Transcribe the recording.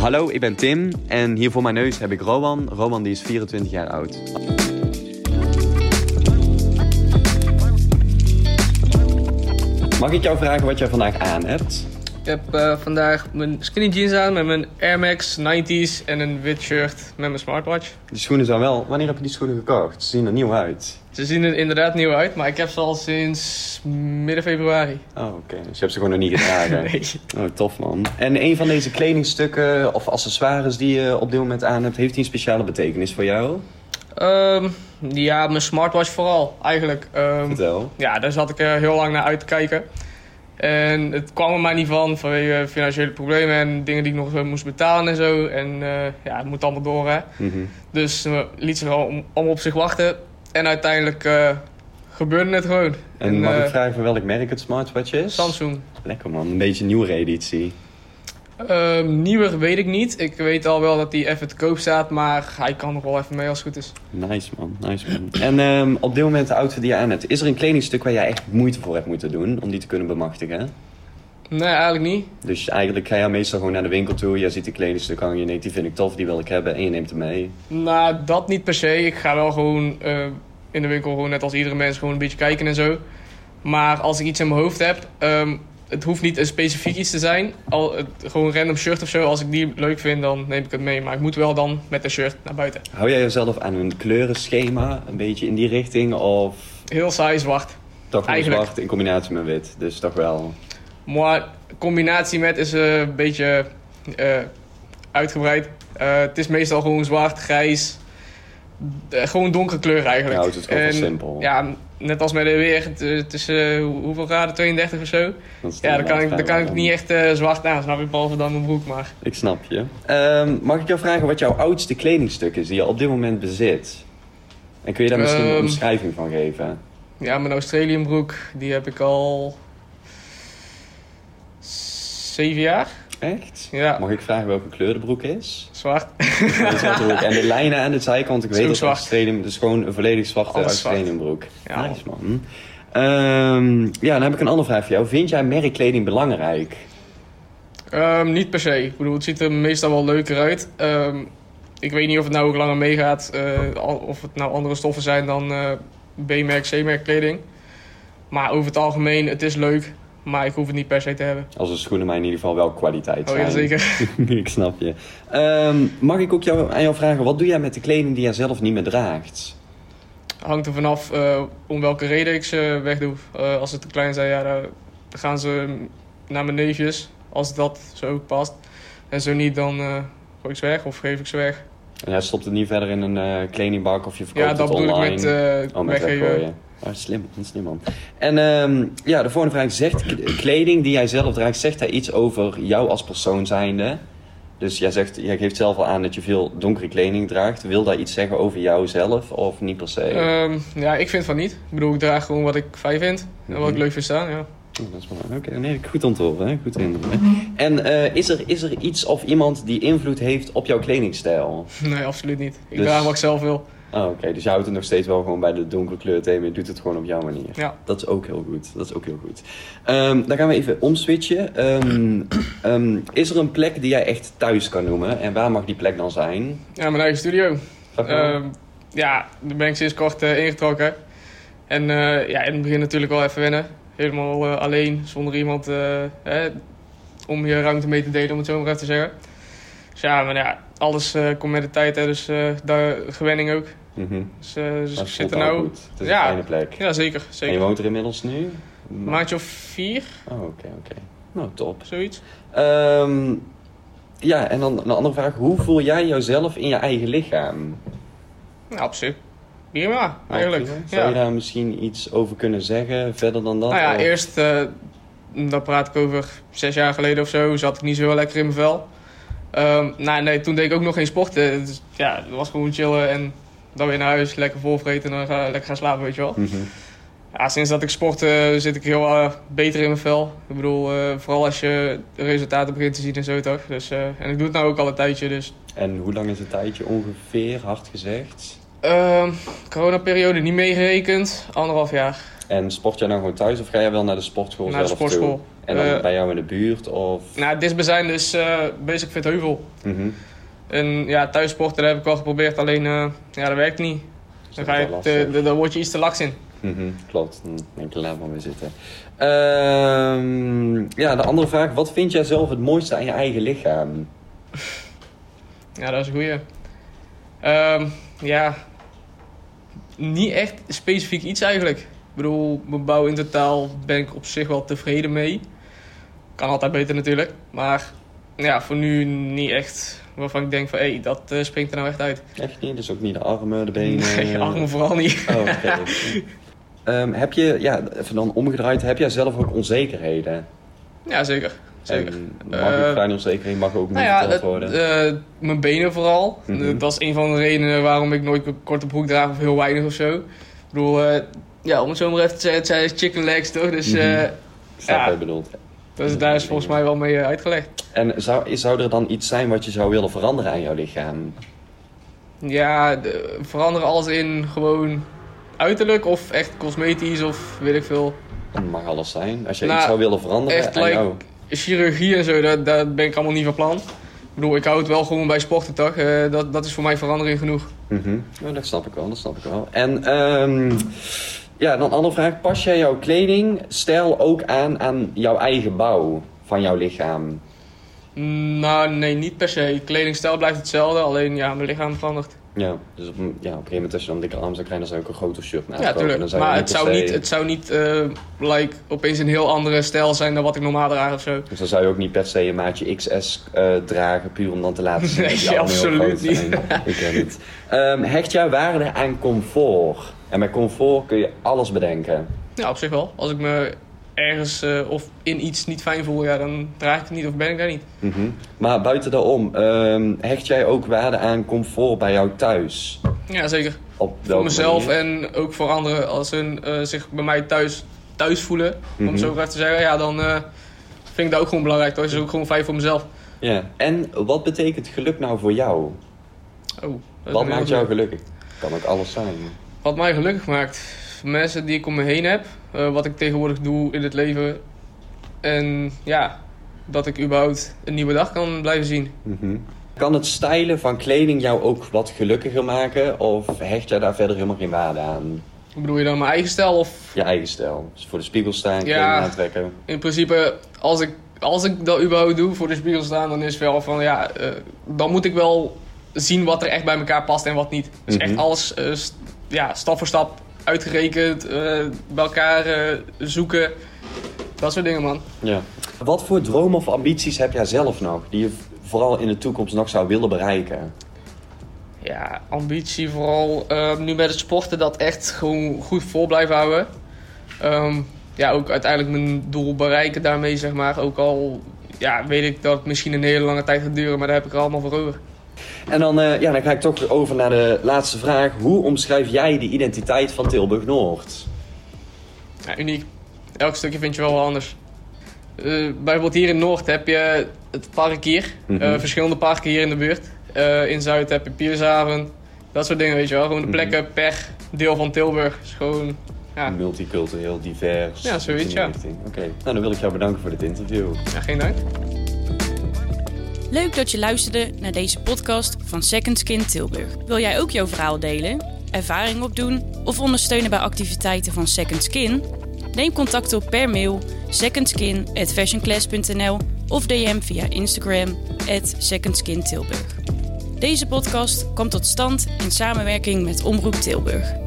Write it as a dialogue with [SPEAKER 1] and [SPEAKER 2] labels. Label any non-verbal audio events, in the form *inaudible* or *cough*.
[SPEAKER 1] Hallo, ik ben Tim en hier voor mijn neus heb ik Rowan. Rowan die is 24 jaar oud. Mag ik jou vragen wat jij vandaag aan hebt?
[SPEAKER 2] Ik heb eh, vandaag mijn skinny jeans aan met mijn Air Max 90s en een wit shirt met mijn smartwatch.
[SPEAKER 1] Die schoenen zijn wel... Wanneer heb je die schoenen gekocht? Ze zien er nieuw uit.
[SPEAKER 2] Ze zien er inderdaad nieuw uit, maar ik heb ze al sinds midden
[SPEAKER 1] *laughs*
[SPEAKER 2] februari.
[SPEAKER 1] Oh, oké. Dus je hebt ze gewoon nog niet gedragen.
[SPEAKER 2] *laughs* Nee.
[SPEAKER 1] Oh, tof man. En een van deze kledingstukken of accessoires die je op dit moment aan hebt, heeft die een speciale betekenis voor jou?
[SPEAKER 2] Ehm, ja, mijn smartwatch vooral, eigenlijk. Ehm,
[SPEAKER 1] Vertel.
[SPEAKER 2] ja, daar zat ik eh, heel lang naar uit te kijken. En het kwam er maar niet van vanwege financiële problemen en dingen die ik nog eh, moest betalen en zo. En eh, ja, het moet allemaal door, hè.
[SPEAKER 1] Mhm.
[SPEAKER 2] Dus eh, liet ze wel om, om op zich wachten. En uiteindelijk eh, gebeurde het gewoon.
[SPEAKER 1] En, mag
[SPEAKER 2] eh,
[SPEAKER 1] ik vragen van welk merk het smartwatch is?
[SPEAKER 2] Samsung.
[SPEAKER 1] Lekker man, een beetje een nieuwere editie.
[SPEAKER 2] Ehm nieuwer weet ik niet. Ik weet al wel dat hij even te koop staat, maar hij kan nog wel even mee als het goed is.
[SPEAKER 1] Nice man, nice man. En ehm, op dit moment de outfit die je aan hebt, is er een kledingstuk waar jij echt moeite voor hebt moeten doen om die te kunnen bemachtigen?
[SPEAKER 2] Nee, eigenlijk niet.
[SPEAKER 1] Dus eigenlijk ga je meestal gewoon naar de winkel toe, jij ziet die kledingstuk hangen, je denkt die vind ik tof, die wil ik hebben en je neemt hem mee.
[SPEAKER 2] Nou, dat niet per se. Ik ga wel gewoon eh, in de winkel, gewoon net als iedere mens, gewoon een beetje kijken en zo. Maar als ik iets in mijn hoofd heb, ehm, het hoeft niet een specifiek iets te zijn. Al, het- gewoon een random shirt of zo. Als ik die leuk vind, dan neem ik het mee. Maar ik moet wel dan met een shirt naar buiten.
[SPEAKER 1] Hou jij jezelf aan een kleurenschema, een beetje in die richting of
[SPEAKER 2] Heel saai zwart.
[SPEAKER 1] toch wel
[SPEAKER 2] Eigenlijk.
[SPEAKER 1] zwart in combinatie met wit? Dus toch wel.
[SPEAKER 2] Maar combinatie met is eh, een beetje eh, uitgebreid. Eh, het is meestal gewoon zwart, grijs. eh, gewoon donkere kleuren eigenlijk.
[SPEAKER 1] Je houdt het gewoon
[SPEAKER 2] En,
[SPEAKER 1] van simpel.
[SPEAKER 2] Ja, net als met de weer. Het, het is eh, hoe- hoeveel graden? 32 of zo.
[SPEAKER 1] Dat
[SPEAKER 2] Ja, dan kan ik, dan kan ik niet echt eh, zwart aan. Snap je? Behalve dan mijn broek maar.
[SPEAKER 1] Ik snap je. Ehm, mag ik jou vragen wat jouw oudste kledingstuk is die je op dit moment bezit? En kun je daar misschien een
[SPEAKER 2] Ehm.
[SPEAKER 1] omschrijving van geven?
[SPEAKER 2] Ja, mijn Australian broek. Die heb ik al... Zeven jaar.
[SPEAKER 1] Echt?
[SPEAKER 2] Ja,
[SPEAKER 1] Mag ik vragen welke kleur de broek is?
[SPEAKER 2] zwart.
[SPEAKER 1] Dat is natuurlijk- en de lijnen aan de zijkant, ik
[SPEAKER 2] Is ook
[SPEAKER 1] weet dat
[SPEAKER 2] zwart.
[SPEAKER 1] het stadium, dus gewoon een volledig zwarte
[SPEAKER 2] Alles zwart.
[SPEAKER 1] Australian broek.
[SPEAKER 2] Ja.
[SPEAKER 1] Nice man. Ehm, ja, dan heb ik een andere vraag voor jou. Vind jij merkkleding belangrijk?
[SPEAKER 2] Ehm, niet per se. Ik bedoel, het ziet er meestal wel leuker uit. Ehm, ik weet niet of het nou ook langer meegaat. eh, al- of het nou andere stoffen zijn dan eh, B-merk, C-merk kleding. Maar over het algemeen, het is leuk. Maar ik hoef het niet per se te hebben.
[SPEAKER 1] Als de schoenen maar in ieder geval wel kwaliteit
[SPEAKER 2] Oh
[SPEAKER 1] zijn.
[SPEAKER 2] ja, zeker.
[SPEAKER 1] *laughs*
[SPEAKER 2] *laughs*
[SPEAKER 1] ik snap je. Ehm, mag ik ook jou, aan jou vragen, wat doe jij met de kleding die jij zelf niet meer draagt?
[SPEAKER 2] Hangt er vanaf eh, om welke reden ik ze wegdoe. Eh, als ze te klein zijn, ja, dan gaan ze naar mijn neefjes. Als dat zo past. En zo niet, dan eh, gooi ik ze weg of geef ik ze weg.
[SPEAKER 1] En jij stopt het niet verder in een eh, kledingbak of je verkoopt
[SPEAKER 2] Ja,
[SPEAKER 1] het
[SPEAKER 2] dat
[SPEAKER 1] online?
[SPEAKER 2] bedoel ik met, eh,
[SPEAKER 1] Oh, met
[SPEAKER 2] weggeven.
[SPEAKER 1] weggooien. Oh, slim, man, slim man. En ehm, ja, de volgende vraag zegt k- kleding die jij zelf draagt, zegt hij iets over jou als persoon zijnde? Dus jij, zegt, jij geeft zelf al aan dat je veel donkere kleding draagt. Wil dat iets zeggen over jouzelf of niet per se?
[SPEAKER 2] Ehm, ja, ik vind van niet. Ik bedoel, ik draag gewoon wat ik fijn vind en wat ik
[SPEAKER 1] Mhm.
[SPEAKER 2] leuk vind staan. Ja. *laughs*
[SPEAKER 1] Oh, dat is wel- Oké, nee, goed om te horen, hè? Goed om te horen. En eh, is, er, is er iets of iemand die invloed heeft op jouw kledingstijl?
[SPEAKER 2] Nee, absoluut niet. Ik
[SPEAKER 1] Dus-
[SPEAKER 2] draag wat ik zelf wil.
[SPEAKER 1] Oh, Oké, dus je houdt het nog steeds wel gewoon bij de donkere kleurthema. Je doet het gewoon op jouw manier.
[SPEAKER 2] Ja.
[SPEAKER 1] Dat is ook heel goed. Dat is ook heel goed. Ehm, dan gaan we even omswitchen. Ehm, *clears throat* ehm, is er een plek die jij echt thuis kan noemen? En waar mag die plek dan zijn?
[SPEAKER 2] ja, mijn eigen studio.
[SPEAKER 1] Vraag maar.
[SPEAKER 2] Ehm, ja, daar ben ik sinds kort eh, ingetrokken. En eh, ja, in het begin natuurlijk wel even wennen. Helemaal eh, alleen, zonder iemand eh, hè, om je ruimte mee te delen, om het zo maar even te zeggen. Dus ja, maar ja, alles eh, komt met de tijd, hè, dus eh, daar, gewenning ook.
[SPEAKER 1] Mhm.
[SPEAKER 2] Dus, eh, dus
[SPEAKER 1] Dat
[SPEAKER 2] ik
[SPEAKER 1] voelt
[SPEAKER 2] zit er
[SPEAKER 1] wel
[SPEAKER 2] nou...
[SPEAKER 1] goed. Het is
[SPEAKER 2] Ja.
[SPEAKER 1] een fijne plek.
[SPEAKER 2] Ja, zeker.
[SPEAKER 1] En je
[SPEAKER 2] zeker.
[SPEAKER 1] woont er inmiddels nu?
[SPEAKER 2] Maandje of vier,
[SPEAKER 1] Oh, oké, oké. Nou, top.
[SPEAKER 2] zoiets.
[SPEAKER 1] Ehm, ja, en dan een andere vraag. Hoe voel jij jouzelf in je eigen lichaam?
[SPEAKER 2] Nou, op zich. Prima, eigenlijk.
[SPEAKER 1] Zou
[SPEAKER 2] Ja.
[SPEAKER 1] je daar misschien iets over kunnen zeggen? Verder dan dat?
[SPEAKER 2] Nou ja,
[SPEAKER 1] Of-
[SPEAKER 2] eerst, eh daar praat ik over zes jaar geleden of zo, zat ik niet zo heel lekker in mijn vel. Ehm, nou, nee, toen deed ik ook nog geen sporten. Dus, ja, het was gewoon chillen en dan weer naar huis, lekker volvreten en dan ga, lekker gaan slapen, weet je wel.
[SPEAKER 1] Mhm.
[SPEAKER 2] Ja, sinds dat ik sport eh, zit ik heel eh, beter in mijn vel. Ik bedoel, eh, vooral als je de resultaten begint te zien en zo toch. Dus, eh, en ik doe het nou ook al een tijdje, dus...
[SPEAKER 1] En hoe lang is het tijdje ongeveer, hard gezegd?
[SPEAKER 2] Ehm coronaperiode niet meegerekend, anderhalf jaar.
[SPEAKER 1] En sport jij dan gewoon thuis of ga jij wel naar de sportschool
[SPEAKER 2] Naar de
[SPEAKER 1] zelf
[SPEAKER 2] sportschool.
[SPEAKER 1] toe? En dan
[SPEAKER 2] Eh,
[SPEAKER 1] bij jou in de buurt of...
[SPEAKER 2] Nou, Disbezijn is eh Basic Fit Heuvel.
[SPEAKER 1] Mhm.
[SPEAKER 2] En ja, thuis sporten dat heb ik wel geprobeerd, alleen eh, ja, dat werkt niet.
[SPEAKER 1] dat
[SPEAKER 2] Dan, ga je
[SPEAKER 1] wel
[SPEAKER 2] te-
[SPEAKER 1] lastig?
[SPEAKER 2] dan- dan word je iets te laks in.
[SPEAKER 1] Mhm, klopt, Hm, denk je laat maar weer zitten. Ehm, ja, de andere vraag. Wat vind jij zelf het mooiste aan je eigen lichaam?
[SPEAKER 2] Ja, dat is een goeie. Ehm, ja, niet echt specifiek iets eigenlijk. Ik bedoel, mijn bouw in totaal ben ik op zich wel tevreden mee. Kan altijd beter natuurlijk. Maar ja, voor nu niet echt waarvan ik denk van, hé, dat eh, springt er nou echt uit.
[SPEAKER 1] Echt niet? Dus ook niet de armen, de benen?
[SPEAKER 2] *laughs* Nee, armen vooral niet.
[SPEAKER 1] Oh, oké. Ehm, heb je, ja, even dan omgedraaid, heb jij zelf ook onzekerheden?
[SPEAKER 2] Ja, zeker. Zeker.
[SPEAKER 1] En mag ook
[SPEAKER 2] Eh,
[SPEAKER 1] kleine onzekerheden, mag ook niet
[SPEAKER 2] Nou ja,
[SPEAKER 1] verteld
[SPEAKER 2] dat-
[SPEAKER 1] worden.
[SPEAKER 2] eh, mijn benen vooral.
[SPEAKER 1] Mhm.
[SPEAKER 2] Eh, Dat is een van de redenen waarom ik nooit een korte broek draag of heel weinig of zo. Ik bedoel, eh, ja, om het zo maar even te zeggen, het zijn chicken legs toch? Dus
[SPEAKER 1] Mhm.
[SPEAKER 2] eh,
[SPEAKER 1] Ik snap
[SPEAKER 2] ja.
[SPEAKER 1] wat je bedoelt.
[SPEAKER 2] dat is, daar is volgens mij wel mee eh, uitgelegd.
[SPEAKER 1] En zou, zou er dan iets zijn wat je zou willen veranderen aan jouw lichaam?
[SPEAKER 2] Ja, de- veranderen als in gewoon uiterlijk of echt cosmetisch of weet ik veel.
[SPEAKER 1] Dat mag alles zijn. Als je
[SPEAKER 2] Nou,
[SPEAKER 1] iets zou willen veranderen
[SPEAKER 2] echt,
[SPEAKER 1] aan
[SPEAKER 2] like-
[SPEAKER 1] jou.
[SPEAKER 2] Chirurgie en zo, daar, daar ben ik allemaal niet van plan. Ik bedoel, ik hou het wel gewoon bij sporten toch? Eh, dat, dat is voor mij verandering genoeg.
[SPEAKER 1] Mhm. Ja, dat snap ik wel, dat snap ik wel. En ehm, ja, dan een andere vraag. Pas jij jouw kleding, stijl ook aan aan jouw eigen bouw van jouw lichaam?
[SPEAKER 2] Mm, Nou, nee, niet per se. Kledingstijl blijft hetzelfde, alleen ja, mijn lichaam verandert.
[SPEAKER 1] Ja, dus op, een- ja, op een gegeven moment als je dan dikke arm zou krijgen, dan zou je ook een groter shirt naast
[SPEAKER 2] Ja, tuurlijk. Maar het zou niet, het zou niet eh, like, opeens een heel andere stijl zijn dan wat ik normaal draag of zo.
[SPEAKER 1] Dus dan zou je ook niet per se een maatje XS eh, dragen, puur om dan te laten zien
[SPEAKER 2] Nee,
[SPEAKER 1] dat die armen heel
[SPEAKER 2] absoluut
[SPEAKER 1] groot zijn. *laughs* ik ken het. Ehm, hecht jij waarde aan comfort? En met comfort kun je alles bedenken.
[SPEAKER 2] Ja, op zich wel. Als ik me ergens eh, of in iets niet fijn voel, ja, dan draag ik het niet of ben ik daar niet.
[SPEAKER 1] Mhm. Maar buiten daarom, ehm, hecht jij ook waarde aan comfort bij jou thuis?
[SPEAKER 2] Ja, zeker.
[SPEAKER 1] Op
[SPEAKER 2] Voor
[SPEAKER 1] welke
[SPEAKER 2] mezelf
[SPEAKER 1] manier?
[SPEAKER 2] en ook voor anderen. Als ze zich bij mij thuis, thuis voelen, om
[SPEAKER 1] Mhm.
[SPEAKER 2] het zo graag te zeggen, ja, dan eh, vind ik dat ook gewoon belangrijk. Dat is ook gewoon fijn voor mezelf.
[SPEAKER 1] Ja. En wat betekent geluk nou voor jou?
[SPEAKER 2] Oh,
[SPEAKER 1] Wat
[SPEAKER 2] dat is een heel
[SPEAKER 1] maakt jou
[SPEAKER 2] goed.
[SPEAKER 1] gelukkig? Kan ook alles zijn.
[SPEAKER 2] Wat mij gelukkig maakt, mensen die ik om me heen heb, eh, wat ik tegenwoordig doe in het leven. En ja, dat ik überhaupt een nieuwe dag kan blijven zien.
[SPEAKER 1] Mhm. Kan het stijlen van kleding jou ook wat gelukkiger maken? Of hecht jij daar verder helemaal geen waarde aan?
[SPEAKER 2] Hoe bedoel je dan mijn eigen stijl? Of
[SPEAKER 1] Je eigen stijl. Dus voor de spiegel staan, kleding
[SPEAKER 2] Ja.
[SPEAKER 1] aantrekken.
[SPEAKER 2] in principe, als ik, als ik dat überhaupt doe, voor de spiegel staan, dan is het wel van ja, eh, dan moet ik wel zien wat er echt bij elkaar past en wat niet. Dus echt
[SPEAKER 1] Mhm.
[SPEAKER 2] alles eh, st- ja, stap voor stap uitgerekend, eh, bij elkaar eh, zoeken. Dat soort dingen, man.
[SPEAKER 1] Ja. Wat voor dromen of ambities heb jij zelf nog? Die je v- vooral in de toekomst nog zou willen bereiken?
[SPEAKER 2] Ja, ambitie vooral eh, nu met het sporten dat echt gewoon goed vol blijven houden. Ehm, ja, ook uiteindelijk mijn doel bereiken daarmee, zeg maar. Ook al ja, weet ik dat het misschien een hele lange tijd gaat duren, maar daar heb ik er allemaal voor over.
[SPEAKER 1] En dan, eh, ja, dan ga ik toch over naar de laatste vraag. Hoe omschrijf jij de identiteit van Tilburg-Noord?
[SPEAKER 2] Ja, uniek. Elk stukje vind je wel wat anders. Eh, bijvoorbeeld hier in Noord heb je het park hier.
[SPEAKER 1] Mhm.
[SPEAKER 2] eh, verschillende parken hier in de buurt. Eh, in Zuid heb je Piershaven. Dat soort dingen, weet je wel. Gewoon de
[SPEAKER 1] Mhm.
[SPEAKER 2] plekken per deel van Tilburg. Is gewoon, ja,
[SPEAKER 1] Multicultureel, divers.
[SPEAKER 2] Ja, zoiets,
[SPEAKER 1] iets in die
[SPEAKER 2] ja.
[SPEAKER 1] richting. Oké, nou dan wil ik jou bedanken voor dit interview.
[SPEAKER 2] ja, geen dank.
[SPEAKER 3] Leuk dat je luisterde naar deze podcast van Second Skin Tilburg. Wil jij ook jouw verhaal delen, ervaring opdoen of ondersteunen bij activiteiten van Second Skin? Neem contact op per mail secondskin@fashionclass.nl of DM via Instagram at secondskintilburg. Deze podcast kwam tot stand in samenwerking met Omroep Tilburg.